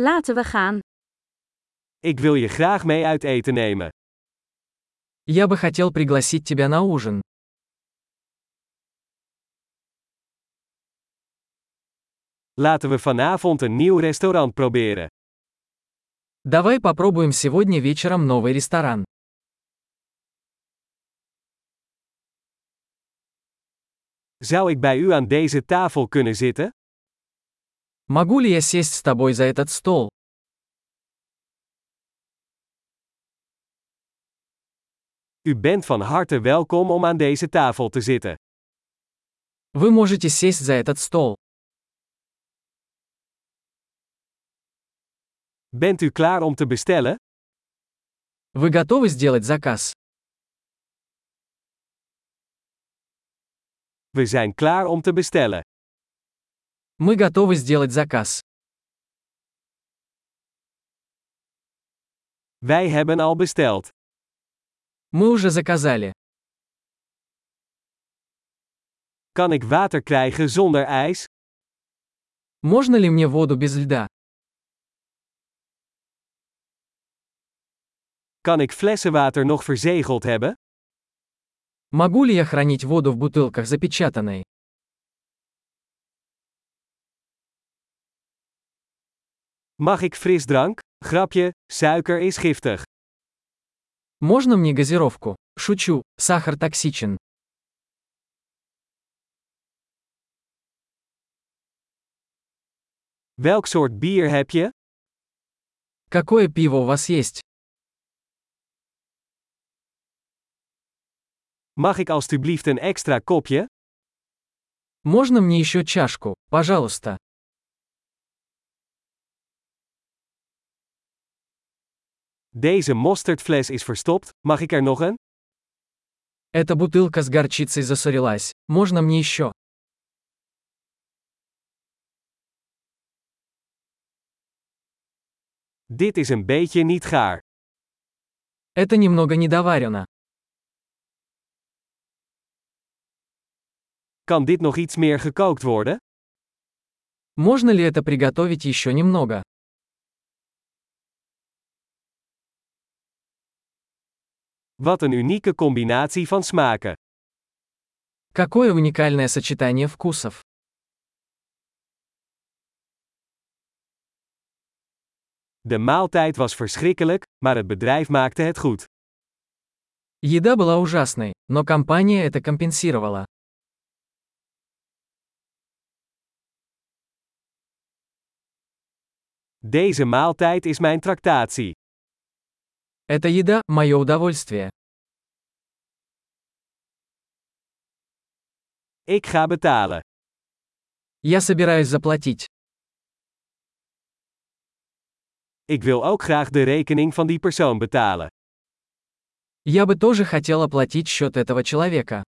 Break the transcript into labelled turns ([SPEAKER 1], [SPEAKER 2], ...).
[SPEAKER 1] Laten we gaan.
[SPEAKER 2] Ik wil je graag mee uit eten nemen.
[SPEAKER 3] Я бы хотел пригласить тебя на ужин.
[SPEAKER 2] Laten we vanavond een nieuw restaurant proberen.
[SPEAKER 3] Давай попробуем сегодня вечером новый ресторан.
[SPEAKER 2] Zou ik bij u aan deze tafel kunnen zitten?
[SPEAKER 3] Могу ли я сесть с тобой за этот стол?
[SPEAKER 2] U bent van harte welkom om aan deze tafel te zitten.
[SPEAKER 3] Вы можете сесть за этот стол.
[SPEAKER 2] Bent u klaar om te bestellen?
[SPEAKER 3] Вы готовы сделать заказ?
[SPEAKER 2] We zijn klaar om te bestellen.
[SPEAKER 3] Мы готовы сделать заказ.
[SPEAKER 2] Wij hebben al besteld.
[SPEAKER 3] Мы уже заказали.
[SPEAKER 2] Kan ik water krijgen zonder ijs?
[SPEAKER 3] Можно ли мне воду без льда?
[SPEAKER 2] Kan ik flessenwater nog verzegeld hebben?
[SPEAKER 3] Могу ли я хранить воду в бутылках запечатанной?
[SPEAKER 2] Mag ik frisdrank? Grapje, suiker is giftig.
[SPEAKER 3] Можно мне газировку? Шучу, сахар токсичен.
[SPEAKER 2] Welk soort bier heb je?
[SPEAKER 3] Какое пиво у вас есть?
[SPEAKER 2] Mag ik alstublieft een extra kopje?
[SPEAKER 3] Можно мне еще чашку, пожалуйста?
[SPEAKER 2] Deze mosterdfles is verstopt, mag ik er nog een?
[SPEAKER 3] Эта бутылка с горчицей засорилась. Можно мне еще?
[SPEAKER 2] Dit is een beetje niet gaar.
[SPEAKER 3] Это немного недоварено.
[SPEAKER 2] Kan dit nog iets meer gekookt worden?
[SPEAKER 3] Можно ли это приготовить еще немного?
[SPEAKER 2] Wat een unieke combinatie van smaken.
[SPEAKER 3] Какое уникальное сочетание вкусов.
[SPEAKER 2] De maaltijd was verschrikkelijk, maar het bedrijf maakte het goed.
[SPEAKER 3] Еда была ужасной, но компания это компенсировала.
[SPEAKER 2] Deze maaltijd is mijn tractatie.
[SPEAKER 3] Эта еда – мое удовольствие.
[SPEAKER 2] Ik ga betalen.
[SPEAKER 3] Я собираюсь заплатить.
[SPEAKER 2] Ik wil ook graag de rekening van die persoon betalen.
[SPEAKER 3] Я бы тоже хотел оплатить счет этого человека.